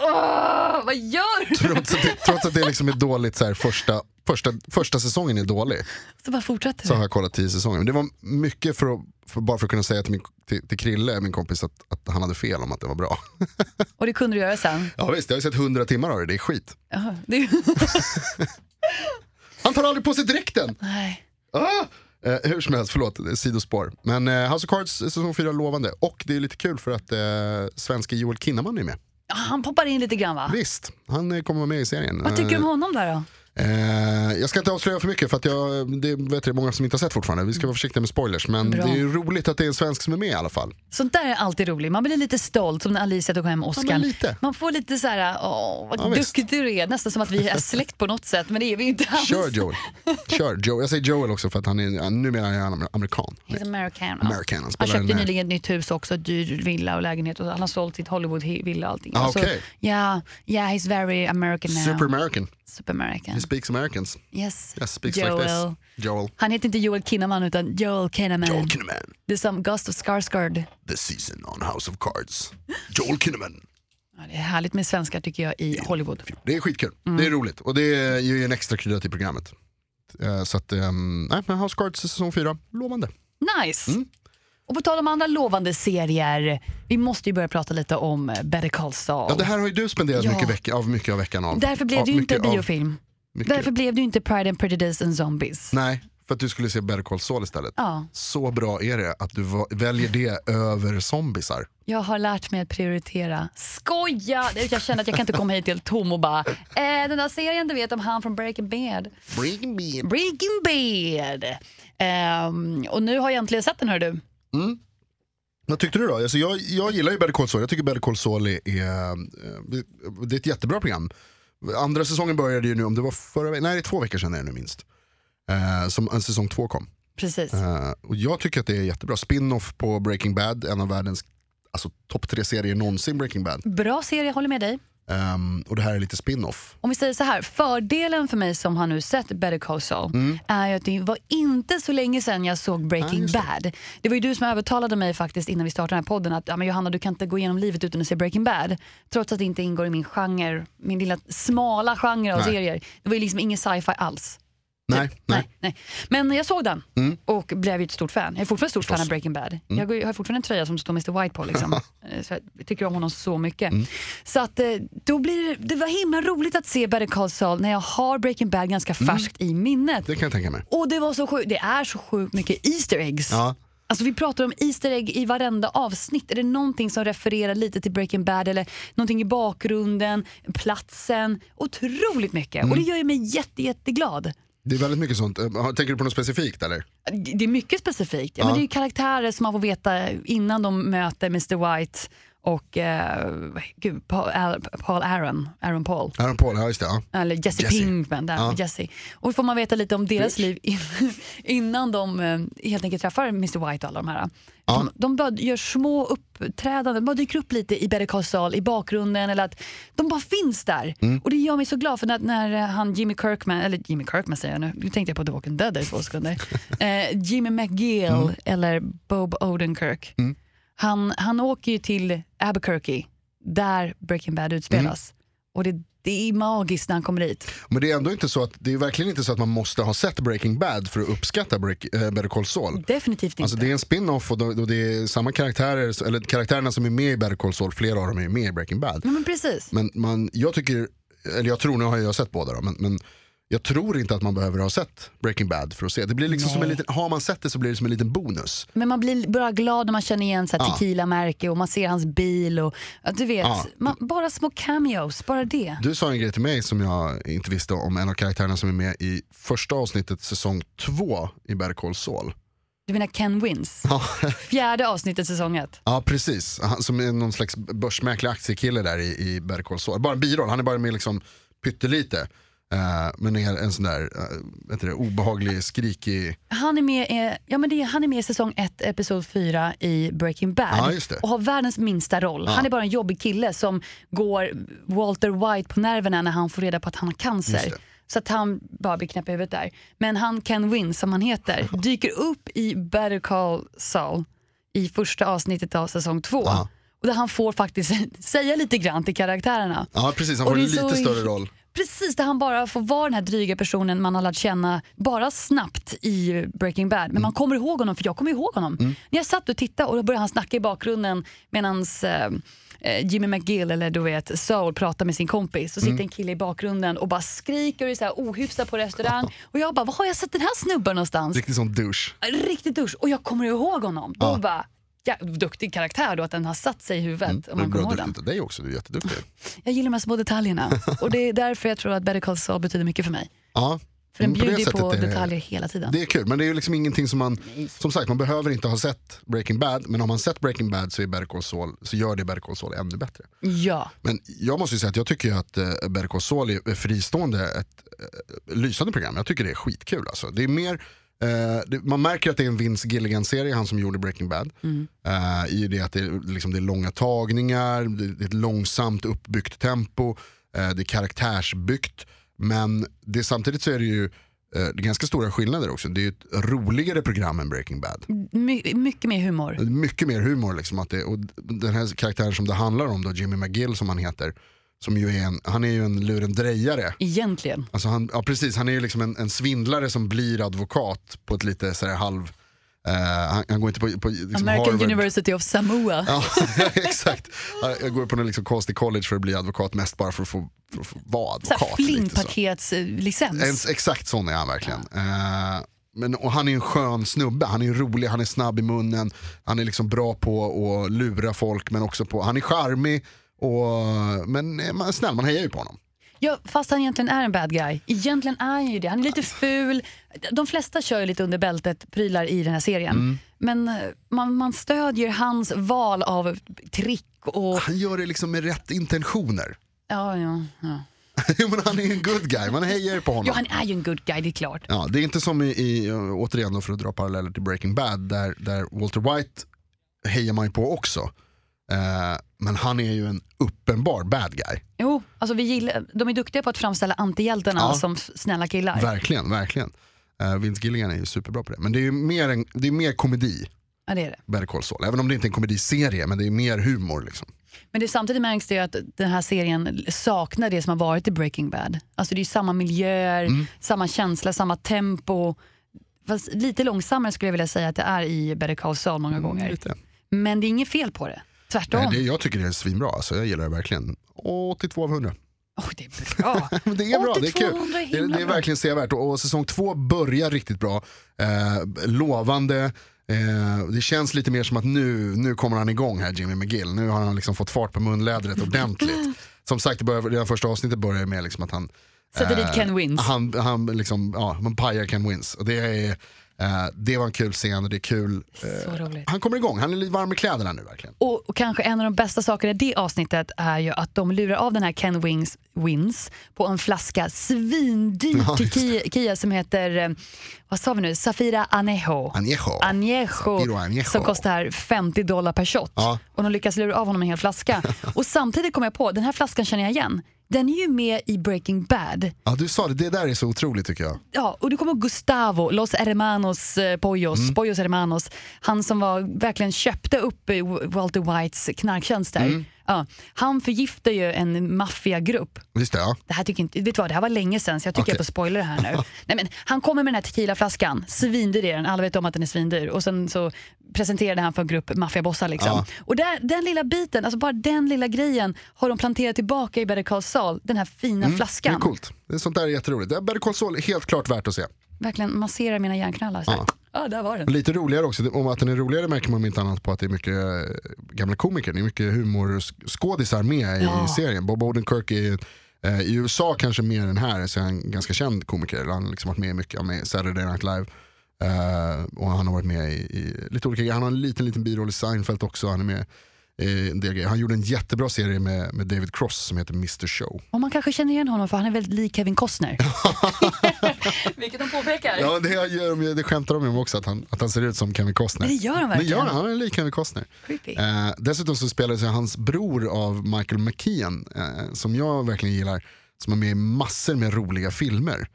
[SPEAKER 2] Åh, vad gör du?
[SPEAKER 1] Trots att det, trots att det liksom är dåligt, så här, första, första, första säsongen är dålig,
[SPEAKER 2] Så bara fortsätter
[SPEAKER 1] så har
[SPEAKER 2] du.
[SPEAKER 1] jag kollat tio säsonger. Men det var mycket för att, för, bara för att kunna säga till, min, till, till Krille, min kompis, att, att han hade fel om att det var bra.
[SPEAKER 2] Och det kunde du göra sen.
[SPEAKER 1] Ja visst, jag har ju sett hundra timmar av det, det är skit.
[SPEAKER 2] Jaha, det...
[SPEAKER 1] Han tar aldrig på sig dräkten!
[SPEAKER 2] Nej.
[SPEAKER 1] Ah! Eh, hur som helst, förlåt, det är sidospår. Men eh, House of Cards säsong 4 är lovande. Och det är lite kul för att eh, svenska Joel Kinnaman är med.
[SPEAKER 2] Ja, Han poppar in lite grann va?
[SPEAKER 1] Visst, han eh, kommer vara med i serien.
[SPEAKER 2] Ah. Vad tycker du om honom där då?
[SPEAKER 1] Eh, jag ska inte avslöja för mycket för att jag, det är vet jag, många som inte har sett fortfarande. Vi ska vara försiktiga med spoilers. Men
[SPEAKER 2] Bra.
[SPEAKER 1] det är ju roligt att det är en svensk som är med i alla fall.
[SPEAKER 2] Sånt där är alltid roligt. Man blir lite stolt som när Alicia tog hem Oscar.
[SPEAKER 1] men lite.
[SPEAKER 2] Man får lite så här, åh vad
[SPEAKER 1] Ja, visst.
[SPEAKER 2] duktig du är. Nästan som att vi är släkt på något sätt, men det är vi ju inte alls.
[SPEAKER 1] Kör Joel. Kör Joel. Jag säger Joel också för att han är, nu menar jag han är amerikan.
[SPEAKER 2] He's American. ja.
[SPEAKER 1] American, han
[SPEAKER 2] Han
[SPEAKER 1] spelar
[SPEAKER 2] köpte
[SPEAKER 1] den här.
[SPEAKER 2] nyligen ett nytt hus också, dyr villa och lägenhet. Och han har sålt sitt Hollywood-villa och allting.
[SPEAKER 1] Ah,
[SPEAKER 2] Så,
[SPEAKER 1] okej.
[SPEAKER 2] yeah, yeah, he's very American now.
[SPEAKER 1] Super American.
[SPEAKER 2] Super American.
[SPEAKER 1] He speaks Americans.
[SPEAKER 2] Yes,
[SPEAKER 1] Yes, speaks
[SPEAKER 2] Joel.
[SPEAKER 1] like this. Joel.
[SPEAKER 2] Han heter inte Joel Kinnaman utan Joel Kinnaman.
[SPEAKER 1] Joel Kinnaman.
[SPEAKER 2] Det är som Gustav Skarsgård.
[SPEAKER 1] This season on House of Cards. Joel Kinnaman.
[SPEAKER 2] Ja, det är härligt med svenskar tycker jag i Hollywood.
[SPEAKER 1] Det är skitkul,
[SPEAKER 2] Mm.
[SPEAKER 1] det är roligt och det ger ju en extra krydda till programmet. Eh, Så att, ehm, nej men House Cards säsong 4, lovande.
[SPEAKER 2] Nice!
[SPEAKER 1] Mm.
[SPEAKER 2] Och på tal om andra lovande serier, vi måste ju börja prata lite om eh, Better Call Saul.
[SPEAKER 1] Ja, det här har ju du spenderat
[SPEAKER 2] Ja.
[SPEAKER 1] mycket, veck- av, mycket av veckan av.
[SPEAKER 2] Därför blev
[SPEAKER 1] Ja,
[SPEAKER 2] det ju inte
[SPEAKER 1] mycket av-
[SPEAKER 2] biofilm.
[SPEAKER 1] mycket.
[SPEAKER 2] Därför blev det ju inte Pride and Prejudice and Zombies.
[SPEAKER 1] Nej, för att du skulle se Better Call Saul istället.
[SPEAKER 2] Ja,
[SPEAKER 1] Så bra är det att du va- väljer det över zombisar.
[SPEAKER 2] jag har lärt mig att prioritera. Skoja! Det- Jag känner att jag kan inte komma hit helt tom och bara eh, “den där serien du vet om han från Breaking Bad”.
[SPEAKER 1] Bring me.
[SPEAKER 2] Breaking Bad! Ehm, och nu har jag äntligen sett den hör du.
[SPEAKER 1] Vad tyckte du då? Alltså jag, jag gillar ju Better Call Saul, jag tycker Better Call Saul är, är, eh, det- det är ett jättebra program. Andra säsongen började ju nu, om det var förra veckan, nej det är två veckor sedan är det nu minst. Eh, som eh, säsong två kom.
[SPEAKER 2] Precis.
[SPEAKER 1] Eh, och jag tycker att det är jättebra. Spin-off på Breaking Bad, en av världens alltså, topp tre serier någonsin Breaking Bad.
[SPEAKER 2] Bra serie, jag håller med dig.
[SPEAKER 1] Ehm, och det här är lite spin-off.
[SPEAKER 2] Om vi säger så här, fördelen för mig som har nu sett Better Call Saul är ju att det var inte så länge sedan jag såg Breaking Bad. Det var ju du som övertalade mig faktiskt innan vi startade den här podden att ja, men Johanna du kan inte gå igenom livet utan att se Breaking Bad. Trots att det inte ingår i min genre, min lilla smala genre av
[SPEAKER 1] Nej.
[SPEAKER 2] serier. Det var ju liksom ingen sci-fi alls.
[SPEAKER 1] Nej, nej. Mm.
[SPEAKER 2] Nej, nej. Men jag såg den och blev ju ett stort fan. Jag är fortfarande ett stort fan av Breaking Bad. Jag går ju- har fortfarande en tröja som står Mr White på. Liksom. Eh, så jag tycker om honom så mycket.
[SPEAKER 1] Mm.
[SPEAKER 2] Så att, eh, då blir, det var himla roligt att se Better Call Saul när jag har Breaking Bad ganska färskt i minnet.
[SPEAKER 1] Mm. Det kan jag tänka mig.
[SPEAKER 2] Och det var så sjukt, det är så sjukt mycket Easter eggs.
[SPEAKER 1] Ja.
[SPEAKER 2] Alltså vi pratar om Easter egg i varenda avsnitt. Är det någonting som refererar lite till Breaking Bad eller någonting i bakgrunden, platsen. Otroligt mycket. Och det
[SPEAKER 1] Mm.
[SPEAKER 2] gör ju mig jätte, jätteglad.
[SPEAKER 1] Det är väldigt mycket sånt. Eh, Tänker du på något specifikt eller?
[SPEAKER 2] Det det är mycket specifikt. Ja, Men
[SPEAKER 1] Ja.
[SPEAKER 2] det är ju karaktärer som man får veta innan de möter Mr White och eh, gud, Paul, Al, Paul Aaron, Aaron Paul.
[SPEAKER 1] Aaron Paul, ja just det. Ja.
[SPEAKER 2] Eller Jesse,
[SPEAKER 1] Jesse.
[SPEAKER 2] Pinkman. Där, Jesse. Och då får man veta lite om deras liv in- innan de eh, helt enkelt träffar Mr White och alla de här. De, de bara gör små uppträdanden, de bara dyker upp lite i Better Call Saul i bakgrunden. Eller att de bara finns där. Och det gör mig så glad för när, när eh, han Jimmy Kirkman, eller Jimmy Kirkman säger jag nu, nu tänkte jag på The Walking Dead där i två sekunder. eh, Jimmy McGill eller Bob Odenkirk. Han, han åker ju till Albuquerque där Breaking Bad utspelas.
[SPEAKER 1] Mm.
[SPEAKER 2] Och det, det är magiskt när han kommer dit.
[SPEAKER 1] Men det är ändå inte så att, det är verkligen inte så att man måste ha sett Breaking Bad för att uppskatta Break, eh, Better Call Saul.
[SPEAKER 2] Definitivt inte.
[SPEAKER 1] Alltså det är en spin-off och då, då det är samma karaktärer, eller karaktärerna som är med i Better Call Saul, flera av dem är med i Breaking Bad.
[SPEAKER 2] Nej, men precis.
[SPEAKER 1] Men man, jag tycker, eller jag tror, nu har jag sett båda då, men, men jag tror inte att man behöver ha sett Breaking Bad för att se. Det blir liksom som en liten, har man sett det så blir det som en liten bonus.
[SPEAKER 2] Men man blir bara glad när man känner igen så här tequila-märke och man ser hans bil. Och, ja, du vet,
[SPEAKER 1] Ja.
[SPEAKER 2] man, bara små cameos, bara det.
[SPEAKER 1] Du sa en grej till mig som jag inte visste om, en av karaktärerna som är med i första avsnittet säsong två i Better Call Saul.
[SPEAKER 2] Du menar Ken Wins?
[SPEAKER 1] Ja.
[SPEAKER 2] Fjärde avsnittet säsong ett.
[SPEAKER 1] Ja precis, han som är någon slags börsmäklare aktiekille där i, i Better Call Saul. Bara en biroll, han är bara med liksom pyttelite. Eh, men är en sån där eh, vet du, det, obehaglig, skrikig,
[SPEAKER 2] Han är med, eh, ja, men det, är- han är med i säsong 1, episod 4 i Breaking Bad.
[SPEAKER 1] Ja, just det.
[SPEAKER 2] Och har världens minsta roll. Han är bara en jobbig kille som går Walter White på nerverna när han får reda på att han har cancer.
[SPEAKER 1] Just det.
[SPEAKER 2] Så att han bara blir knäpp i huvudet där. Men han Ken Win, som han heter, dyker upp i Better Call Saul i första avsnittet av säsong 2.
[SPEAKER 1] Ja.
[SPEAKER 2] Och där han får faktiskt säga lite grann till karaktärerna.
[SPEAKER 1] ja precis han
[SPEAKER 2] Och
[SPEAKER 1] får en
[SPEAKER 2] det är
[SPEAKER 1] lite
[SPEAKER 2] så-
[SPEAKER 1] större roll.
[SPEAKER 2] Precis, där han bara får vara den här dryga personen man har lärt känna bara snabbt i Breaking Bad. Men man kommer ihåg honom, för jag kommer ihåg honom.
[SPEAKER 1] Mm.
[SPEAKER 2] När jag satt och tittade och då började han snacka i bakgrunden medan eh, eh, Jimmy McGill eller du vet Saul pratar med sin kompis. Så sitter
[SPEAKER 1] Mm.
[SPEAKER 2] en kille i bakgrunden och bara skriker och är så här ohyfsad på restaurang. Och jag bara, var har jag sett den här snubben någonstans?
[SPEAKER 1] Riktigt sån douche.
[SPEAKER 2] Riktigt dusch. Och jag kommer ihåg honom. Då bara, ja, duktig karaktär då att den har satt sig i huvudet. Om
[SPEAKER 1] Det är
[SPEAKER 2] man kommer
[SPEAKER 1] Mm. bra
[SPEAKER 2] ihåg den.
[SPEAKER 1] duktigt av dig också, du är jätteduktig.
[SPEAKER 2] Jag gillar de här små detaljerna och det är därför jag tror att Better Call Saul betyder mycket för mig.
[SPEAKER 1] Ja,
[SPEAKER 2] För den
[SPEAKER 1] men Mm, det
[SPEAKER 2] bjuder ju
[SPEAKER 1] sättet
[SPEAKER 2] på
[SPEAKER 1] är det-
[SPEAKER 2] detaljer hela tiden.
[SPEAKER 1] Det är kul, men det är ju liksom ingenting som man, som sagt man behöver inte ha sett Breaking Bad, men har man sett Breaking Bad så, är Better Call Saul, så gör det Better Call Saul ännu bättre.
[SPEAKER 2] Ja,
[SPEAKER 1] Men jag måste ju säga att jag tycker ju att eh, Better Call Saul är fristående ett eh, lysande program. Jag tycker det är skitkul alltså. Det är mer, eh, det, man märker att det är en Vince Gilligan-serie, han som gjorde Breaking Bad. Eh, I det att det är, liksom, det är långa tagningar, det, det är ett långsamt uppbyggt tempo, eh, det är karaktärsbyggt. Men det, samtidigt så är det ju Eh, Det är ganska stora skillnader också. Det är ju ett roligare program än Breaking Bad.
[SPEAKER 2] My, mycket mer humor.
[SPEAKER 1] Mycket mer humor. Liksom, att det, och den här karaktären som det handlar om, då, Jimmy McGill som han heter, som ju är en, han är ju en lurendrejare.
[SPEAKER 2] Egentligen.
[SPEAKER 1] Alltså han, ja, precis, han är ju liksom en, en svindlare som blir advokat på ett lite så här, halv... Eh, han, han går inte på, på liksom
[SPEAKER 2] American
[SPEAKER 1] Harvard.
[SPEAKER 2] University of Samoa.
[SPEAKER 1] Ja, exakt. Jag- Jag går på någon liksom konstig college för att bli advokat, mest bara för att få, för att få vara
[SPEAKER 2] Så här
[SPEAKER 1] advokat. lite så.
[SPEAKER 2] Flingpaketslicens.
[SPEAKER 1] En, exakt sån är han verkligen. Eh, men, och han är en skön snubbe, han är ju rolig, han är snabb i munnen, han är liksom bra på att lura folk men också på, han är charmig, och, men eh, man, snäll man hejar ju på honom.
[SPEAKER 2] Ja, fast han egentligen är en bad guy. Egentligen är han ju det. Han är lite ful. De flesta kör ju lite under bältet prylar i den här serien.
[SPEAKER 1] Mm.
[SPEAKER 2] Men eh, man, man stödjer hans val av trick och...
[SPEAKER 1] Han gör det liksom med rätt intentioner.
[SPEAKER 2] Ja, ja, ja.
[SPEAKER 1] Jo, men han är en good guy, man hejar på
[SPEAKER 2] ja
[SPEAKER 1] honom.
[SPEAKER 2] han är ju en good guy, det är klart.
[SPEAKER 1] Ja, det är inte som i, i återigen då för att dra paralleller till Breaking Bad, där, där Walter White hejar man ju på också. Eh, men han är ju en uppenbar bad guy.
[SPEAKER 2] Jo, alltså vi gillar, de är duktiga på att framställa antihjältarna
[SPEAKER 1] Ja.
[SPEAKER 2] som f- snälla killar.
[SPEAKER 1] Verkligen, verkligen. Uh, Vince Gilligan är ju superbra på det. Men det är ju mer, en, det är mer komedi,
[SPEAKER 2] Ja, det är det.
[SPEAKER 1] Better Call Saul. Även om det inte är en komediserie, men det är mer humor. Liksom.
[SPEAKER 2] Men det, samtidigt märks det ju att den här serien saknar det som har varit i Breaking Bad. Alltså det är ju samma miljöer,
[SPEAKER 1] Mm.
[SPEAKER 2] samma känsla, samma tempo. Fast lite långsammare skulle jag vilja säga att det är i Better Call Saul många gånger.
[SPEAKER 1] Mm, Lite.
[SPEAKER 2] Men det är inget fel på det. Tvärtom.
[SPEAKER 1] Nej, det, jag tycker det är svinbra, alltså, jag gillar det verkligen. 82 av 100.
[SPEAKER 2] Oj, det är bra.
[SPEAKER 1] Men det är bra, det är
[SPEAKER 2] 82
[SPEAKER 1] kul.
[SPEAKER 2] är
[SPEAKER 1] Det,
[SPEAKER 2] himla
[SPEAKER 1] det är
[SPEAKER 2] bra.
[SPEAKER 1] verkligen sevärt och, och säsong två börjar riktigt bra. Eh, lovande. Eh, det känns lite mer som att nu, nu kommer han igång här Jimmy McGill. Nu har han liksom fått fart på munlädret ordentligt. som sagt, det börjar, redan första avsnittet börjar med liksom att han
[SPEAKER 2] Sätter dit
[SPEAKER 1] Eh,
[SPEAKER 2] Ken Wins.
[SPEAKER 1] Han, han liksom, ja, man pajar Ken Wins. Och det, är, eh, det var en kul scen och det är kul.
[SPEAKER 2] Så
[SPEAKER 1] eh,
[SPEAKER 2] roligt.
[SPEAKER 1] han kommer igång, han är lite varm i kläderna nu verkligen.
[SPEAKER 2] Och, och kanske en av de bästa sakerna i det avsnittet är ju att de lurar av den här Ken Wings Wins på en flaska svindyr
[SPEAKER 1] Ja, just
[SPEAKER 2] tequila tequila som heter, eh, vad sa vi nu, Safira Anejo.
[SPEAKER 1] Añejo. Safiro
[SPEAKER 2] Anejo,
[SPEAKER 1] Añejo.
[SPEAKER 2] som kostar 50 dollar per shot.
[SPEAKER 1] Ja.
[SPEAKER 2] Och de lyckas lura av honom en hel flaska. och samtidigt kom jag på, den här flaskan känner jag igen. Den är ju med i Breaking Bad.
[SPEAKER 1] Ja, du sa det, det där är så otroligt tycker jag.
[SPEAKER 2] Ja, och du kommer ihåg Gustavo, Los Hermanos eh, Pollos,
[SPEAKER 1] Mm.
[SPEAKER 2] Pollos Hermanos. Han som var, verkligen köpte upp eh, Walter Whites knarktjänster.
[SPEAKER 1] Mm.
[SPEAKER 2] Ja, han förgiftar ju en maffiagrupp.
[SPEAKER 1] Visst det, ja.
[SPEAKER 2] Det här tycker inte, vet du vad, det här var länge sedan så jag tycker
[SPEAKER 1] Okej.
[SPEAKER 2] jag får spoiler här nu. Nej, men, han kommer med den här tequilaflaskan, svindyr är den, alla vet om att den är svindyr. Och sen så presenterade han för en grupp maffiabossar. Liksom.
[SPEAKER 1] Ja.
[SPEAKER 2] Och där, den lilla biten, alltså bara den lilla grejen har de planterat tillbaka i Better Call Saul, den här fina
[SPEAKER 1] Mm, Det
[SPEAKER 2] flaskan.
[SPEAKER 1] är coolt. Det är sånt där är jätteroligt. Det är Better Call Saul är helt klart värt att se.
[SPEAKER 2] Verkligen masserar mina hjärnknallar. Så här.
[SPEAKER 1] Ja.
[SPEAKER 2] Ja, där var den.
[SPEAKER 1] Lite roligare också, om att den är roligare märker man om inte annat på att det är mycket eh, gamla komiker, det är mycket humorskådisar med i
[SPEAKER 2] Ja.
[SPEAKER 1] serien. Bob Odenkirk är eh, i USA kanske mer än här, så är han en ganska känd komiker. Han har liksom varit med i mycket, med Saturday Night Live. eh, och han har varit med i, i lite olika grejer. Han har en liten, liten biroll i Seinfeld också. Han är med i en del grejer. Han gjorde en jättebra serie med, med David Cross som heter Mr Show.
[SPEAKER 2] Och man kanske känner igen honom för han är väldigt lik Kevin Costner. Vilket de påpekar.
[SPEAKER 1] Ja, det, gör de, ju- det skämtar de ju om också, att han, att han ser ut som Kevin Costner.
[SPEAKER 2] Men det gör han
[SPEAKER 1] Det gör
[SPEAKER 2] verkligen.
[SPEAKER 1] han, han är lik Kevin Costner.
[SPEAKER 2] Creepy.
[SPEAKER 1] Eh, dessutom så spelades ju hans bror av Michael McKean, eh, som jag verkligen gillar, som är med i massor med roliga filmer.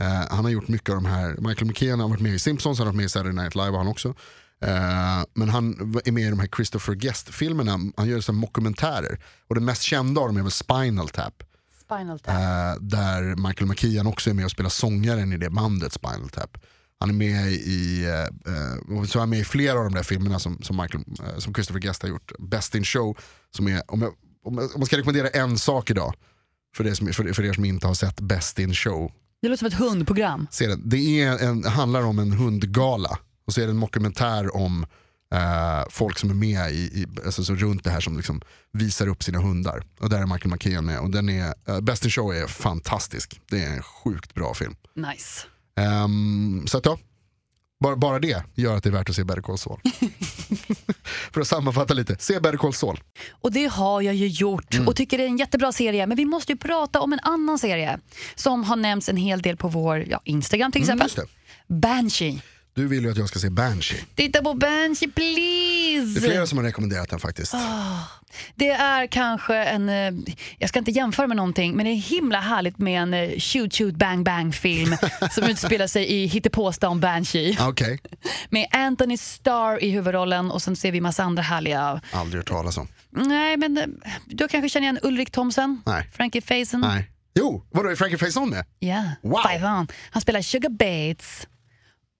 [SPEAKER 1] Eh, han har gjort mycket av de här, Michael McKean har varit med i Simpsons, han har varit med i Saturday Night Live han också. Eh, men han v- är med i de här Christopher Guest-filmerna, han gör så här mockumentärer. Och den mest kända av dem är väl Spinal Tap.
[SPEAKER 2] Spinal Tap.
[SPEAKER 1] Eh, där Michael McKean också är med och spelar sångaren i det bandet Spinal Tap. Han är med i, eh, eh, och så är han med i flera av de där filmerna som, som, Michael, eh, som Christopher Guest har gjort. Best in show, som är, om, jag, om, jag, om man ska rekommendera en sak idag, för, det som, för, för er som inte har sett Best in show,
[SPEAKER 2] Det låter som ett hundprogram.
[SPEAKER 1] se den. Det är en, handlar om en hundgala och så är det en dokumentär om eh, folk som är med i, i, alltså, så runt det här som liksom visar upp sina hundar. Och där är Michael McKean med och den är, eh, Best in show är fantastisk. Det är en sjukt bra film.
[SPEAKER 2] Nice.
[SPEAKER 1] Ehm, så att ja, bara, bara det gör att det är värt att se Better Call Saul. För att sammanfatta lite, se Better Call Saul.
[SPEAKER 2] Och det har jag ju gjort
[SPEAKER 1] Mm.
[SPEAKER 2] och tycker det är en jättebra serie. Men vi måste ju prata om en annan serie som har nämnts en hel del på vår ja, Instagram till
[SPEAKER 1] Mm,
[SPEAKER 2] exempel.
[SPEAKER 1] just det.
[SPEAKER 2] Banshee.
[SPEAKER 1] Du vill ju att jag ska se Banshee.
[SPEAKER 2] Titta på Banshee please!
[SPEAKER 1] Det är flera som har rekommenderat den faktiskt.
[SPEAKER 2] Det är kanske en, eh, jag ska inte jämföra med någonting, men det är himla härligt med en eh, shoot shoot bang bang film som utspelar sig i hittepåstan Banshee.
[SPEAKER 1] Ah, Okej,
[SPEAKER 2] Med Anthony Starr i huvudrollen och sen ser vi massa andra härliga.
[SPEAKER 1] aldrig hört talas om.
[SPEAKER 2] Nej men eh, du kanske känner igen Ulrik Thomsen?
[SPEAKER 1] Nej.
[SPEAKER 2] Frankie Faison?
[SPEAKER 1] Nej. Jo, vadå är Frankie Faison med?
[SPEAKER 2] Ja,
[SPEAKER 1] Wow.
[SPEAKER 2] Faison. Han spelar Sugar Bates.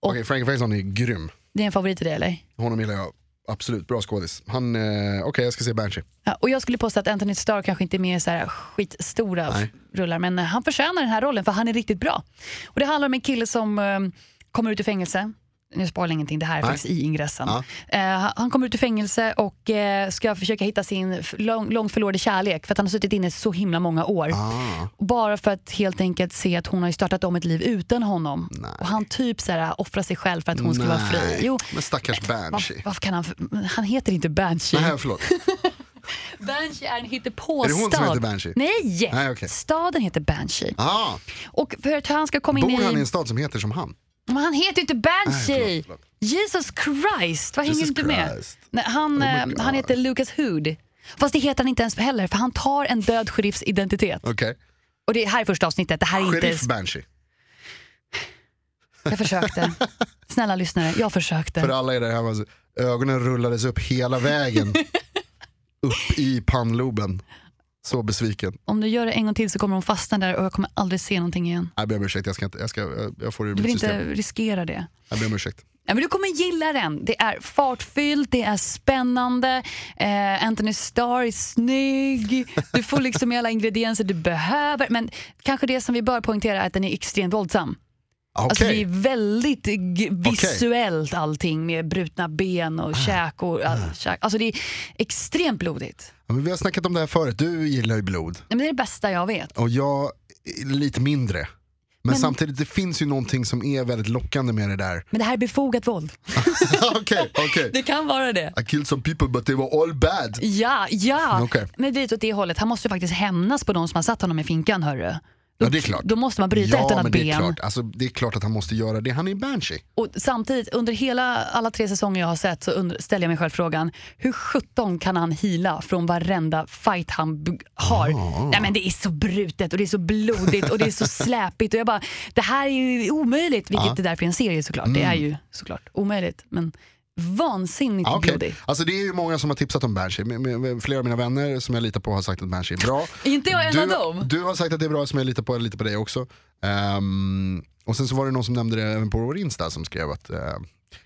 [SPEAKER 2] Och-
[SPEAKER 1] Okej, Frankie Faison är grym.
[SPEAKER 2] Det är en favorit i det eller?
[SPEAKER 1] Honom gillar jag absolut, bra skådis. Han, eh, okej jag ska se Banshee.
[SPEAKER 2] Ja, och jag skulle påstå att Anthony Starr kanske inte är med i så här skitstora f-
[SPEAKER 1] Nej.
[SPEAKER 2] rullar, men eh, han förtjänar den här rollen för han är riktigt bra. Och Det handlar om en kille som eh, kommer ut ur fängelse. Nu spoilar jag ingenting, det här är
[SPEAKER 1] Nej.
[SPEAKER 2] faktiskt i ingressen.
[SPEAKER 1] Ja.
[SPEAKER 2] Eh, han kommer ut ur fängelse och eh, ska försöka hitta sin f- lång, långt förlorade kärlek för att han har suttit inne så himla många år.
[SPEAKER 1] Ah.
[SPEAKER 2] Bara för att helt enkelt se att hon har ju startat om ett liv utan honom. Och han typ så här, offrar sig själv för att hon ska vara fri.
[SPEAKER 1] Nej,
[SPEAKER 2] Jo,
[SPEAKER 1] Men stackars Banshee.
[SPEAKER 2] varför, varför kan han... f- Han heter inte Banshee.
[SPEAKER 1] Nej, förlåt.
[SPEAKER 2] Banshee är en hittepåstad.
[SPEAKER 1] Är det hon som heter Banshee?
[SPEAKER 2] Nej!
[SPEAKER 1] Nej, okej.
[SPEAKER 2] Staden heter Banshee.
[SPEAKER 1] Ah,
[SPEAKER 2] Och för att han ska komma in
[SPEAKER 1] bor han i
[SPEAKER 2] i...
[SPEAKER 1] en stad som heter som han?
[SPEAKER 2] Men han heter ju inte Banshee!
[SPEAKER 1] Nej, förlåt, förlåt.
[SPEAKER 2] Jesus Christ, vad hänger
[SPEAKER 1] Jesus
[SPEAKER 2] du inte med?
[SPEAKER 1] Christ. Oh
[SPEAKER 2] Nej, han,
[SPEAKER 1] my
[SPEAKER 2] eh,
[SPEAKER 1] God.
[SPEAKER 2] han heter Lucas Hood. Fast det heter han inte ens heller, för han tar en död sheriffs identitet.
[SPEAKER 1] Okej.
[SPEAKER 2] Och det här är första avsnittet, det här är
[SPEAKER 1] Sheriff
[SPEAKER 2] inte...
[SPEAKER 1] Banshee.
[SPEAKER 2] Jag försökte. Snälla lyssnare, jag försökte.
[SPEAKER 1] För alla er där hemma, så- ögonen rullades upp hela vägen. upp i pannloben. Så besviken.
[SPEAKER 2] Om du gör det en gång till så kommer hon fastna där och jag kommer aldrig se någonting igen.
[SPEAKER 1] Jag ber om ursäkt, jag, ska inte, jag, ska, jag- jag får det ur
[SPEAKER 2] Du
[SPEAKER 1] mitt
[SPEAKER 2] vill
[SPEAKER 1] system.
[SPEAKER 2] inte riskera det.
[SPEAKER 1] Jag ber om ursäkt.
[SPEAKER 2] Ja, men du kommer gilla den. Det är fartfyllt, det är spännande, eh, Anthony Starr är snygg, du får liksom alla ingredienser du behöver. Men kanske det som vi bör poängtera är att den är extremt våldsam. Alltså,
[SPEAKER 1] Okej,
[SPEAKER 2] det är väldigt g- visuellt allting med brutna ben och käk. Och, all, käk. Alltså, det är extremt blodigt.
[SPEAKER 1] ja, men vi har snackat om det här förut. Du gillar ju blod
[SPEAKER 2] Ja, Men det är det bästa jag vet.
[SPEAKER 1] och jag är lite mindre. Men,
[SPEAKER 2] Men-
[SPEAKER 1] samtidigt, det finns ju någonting som är väldigt lockande med det där.
[SPEAKER 2] Men det här är befogat våld.
[SPEAKER 1] Okej, okej.
[SPEAKER 2] Det kan vara det.
[SPEAKER 1] I killed some people but they were all bad.
[SPEAKER 2] Ja, ja.
[SPEAKER 1] Okej.
[SPEAKER 2] Men det är åt det hållet. Han måste ju faktiskt hämnas på de som har satt honom i finkan, hörru. Då,
[SPEAKER 1] Ja, det är klart.
[SPEAKER 2] då måste man bryta ett
[SPEAKER 1] ja,
[SPEAKER 2] annat
[SPEAKER 1] men det
[SPEAKER 2] ben.
[SPEAKER 1] är, klart. Alltså, det är klart att han måste göra det. Han är en banshee.
[SPEAKER 2] Och samtidigt, under hela alla tre säsonger jag har sett så und- ställer jag mig själv frågan, hur sjutton kan han hila från varenda fight han b- har?
[SPEAKER 1] Ah.
[SPEAKER 2] Nej men det är så brutet och det är så blodigt och det är så släpigt och jag bara, det här är ju
[SPEAKER 1] Ah.
[SPEAKER 2] omöjligt, vilket det därför är en serie såklart. Det
[SPEAKER 1] Mm.
[SPEAKER 2] är ju såklart omöjligt, men vansinnigt
[SPEAKER 1] Ja, okej.
[SPEAKER 2] blodigt.
[SPEAKER 1] Alltså, det är ju många som har tipsat om banshee. Men- men- men Flera av mina vänner som jag litar på har sagt att banshee är bra.
[SPEAKER 2] Är inte jag en
[SPEAKER 1] du,
[SPEAKER 2] av dem?
[SPEAKER 1] Du har sagt att det är bra som jag litar på, jag litar på dig också. Ehm, och sen så var det någon som nämnde det även på vår Insta som skrev att uh,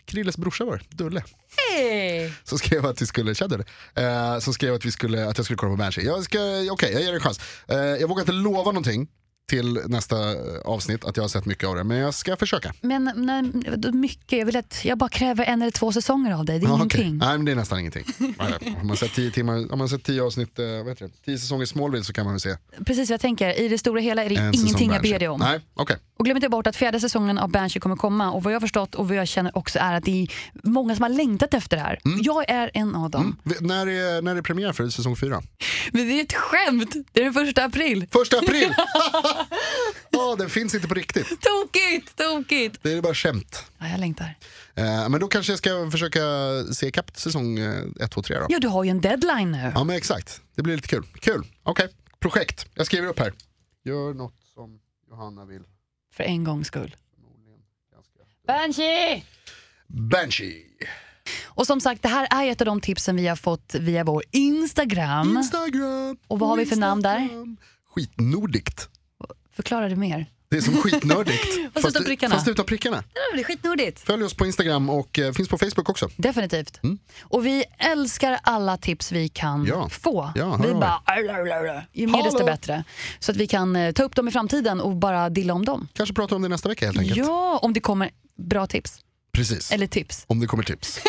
[SPEAKER 1] Krilles brorsa var det, Dulle,
[SPEAKER 2] Hey.
[SPEAKER 1] som skrev att vi skulle, tja Dulle, Eh, som skrev att, vi skulle, att jag skulle kolla på Banshee. Jag ska, okej, jag ger det en chans. Eh, jag vågar inte lova någonting till nästa eh, avsnitt att jag har sett mycket av det, men jag ska försöka.
[SPEAKER 2] Men nej, vadå mycket, jag, vill att, jag bara kräver en eller två säsonger av dig, det är
[SPEAKER 1] Ja, okej.
[SPEAKER 2] ingenting.
[SPEAKER 1] Nej, men det är nästan ingenting. om, man sett tio timmar, om man har sett tio avsnitt, eh, vad heter det? tio säsonger Smallville så kan man väl se en
[SPEAKER 2] Precis vad jag tänker, i det stora hela är det
[SPEAKER 1] säsong
[SPEAKER 2] ingenting jag
[SPEAKER 1] Banshee.
[SPEAKER 2] ber dig om.
[SPEAKER 1] Nej, okej.
[SPEAKER 2] Och glöm inte bort att fjärde säsongen av Banshee kommer komma och vad jag har förstått och vad jag känner också är att det är många som har längtat efter det här.
[SPEAKER 1] Mm.
[SPEAKER 2] Jag är en av dem.
[SPEAKER 1] Vi- När, är, när är premiär för säsong fyra?
[SPEAKER 2] Men det är ett skämt! Det är den första april.
[SPEAKER 1] Första april! Ja, den finns inte på riktigt.
[SPEAKER 2] Tokigt, tokigt!
[SPEAKER 1] Det är bara skämt.
[SPEAKER 2] Ja, jag längtar.
[SPEAKER 1] Eh, men då kanske jag ska försöka se ikapp säsong eh, 1, 2, 3 då.
[SPEAKER 2] Ja, du har ju en deadline nu.
[SPEAKER 1] Ja men exakt, det blir lite kul. Kul, okej. Projekt, jag skriver upp här. Gör något som Johanna vill.
[SPEAKER 2] För en gångs skull. Banshee!
[SPEAKER 1] Banshee!
[SPEAKER 2] Och som sagt, det här är ett av de tipsen vi har fått via vår Instagram.
[SPEAKER 1] Instagram!
[SPEAKER 2] Och vad har vi för namn där?
[SPEAKER 1] Instagram. Skitnordigt.
[SPEAKER 2] Förklara det mer.
[SPEAKER 1] Det är som skitnördigt.
[SPEAKER 2] Fast utan prickarna.
[SPEAKER 1] fast utan prickarna.
[SPEAKER 2] Det är skitnordigt.
[SPEAKER 1] Följ oss på Instagram och eh, finns på Facebook också.
[SPEAKER 2] Definitivt. Och vi älskar alla tips vi kan
[SPEAKER 1] Mm. Ja.
[SPEAKER 2] få.
[SPEAKER 1] Ja, hör
[SPEAKER 2] vi
[SPEAKER 1] av
[SPEAKER 2] bara, "Arrararrar." ju mer desto
[SPEAKER 1] Hallå.
[SPEAKER 2] bättre. Så att vi kan eh, ta upp dem i framtiden och bara dilla om dem.
[SPEAKER 1] Kanske prata om det nästa vecka helt enkelt.
[SPEAKER 2] Ja, om det kommer bra tips.
[SPEAKER 1] Precis.
[SPEAKER 2] Eller tips.
[SPEAKER 1] Om det kommer tips.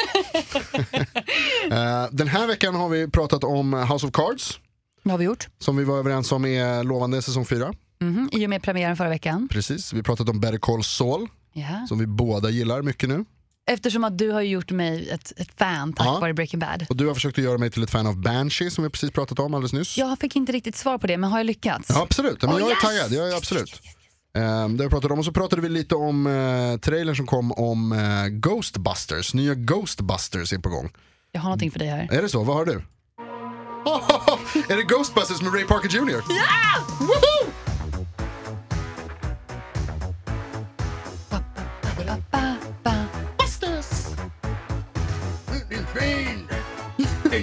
[SPEAKER 1] Eh, Den här veckan har vi pratat om House of Cards,
[SPEAKER 2] Det har vi gjort.
[SPEAKER 1] som vi var överens om är lovande säsong 4.
[SPEAKER 2] Mhm, I och med premiären förra veckan.
[SPEAKER 1] Precis. Vi har pratat om Better Call Saul,
[SPEAKER 2] Ja.
[SPEAKER 1] som vi båda gillar mycket nu.
[SPEAKER 2] Eftersom att du har gjort mig ett, ett fan tack
[SPEAKER 1] Ja.
[SPEAKER 2] vare Breaking Bad.
[SPEAKER 1] Och du har försökt att göra mig till ett fan av Banshee, som vi precis pratat om alldeles nyss.
[SPEAKER 2] Jag fick inte riktigt svar på det, men har jag lyckats?
[SPEAKER 1] Ja, absolut, men
[SPEAKER 2] Oh,
[SPEAKER 1] jag är
[SPEAKER 2] yes!
[SPEAKER 1] taggad. Jag är absolut. Ehm, det har vi pratat om. Och så pratade vi lite om eh, trailern som kom om eh, Ghostbusters. Nya Ghostbusters är på gång.
[SPEAKER 2] Jag har någonting för dig här.
[SPEAKER 1] Är det så? Vad har du? är det Ghostbusters med Ray Parker Jr? Ja! Woho!
[SPEAKER 2] Ba, ba.
[SPEAKER 1] Busters! Lightning train! In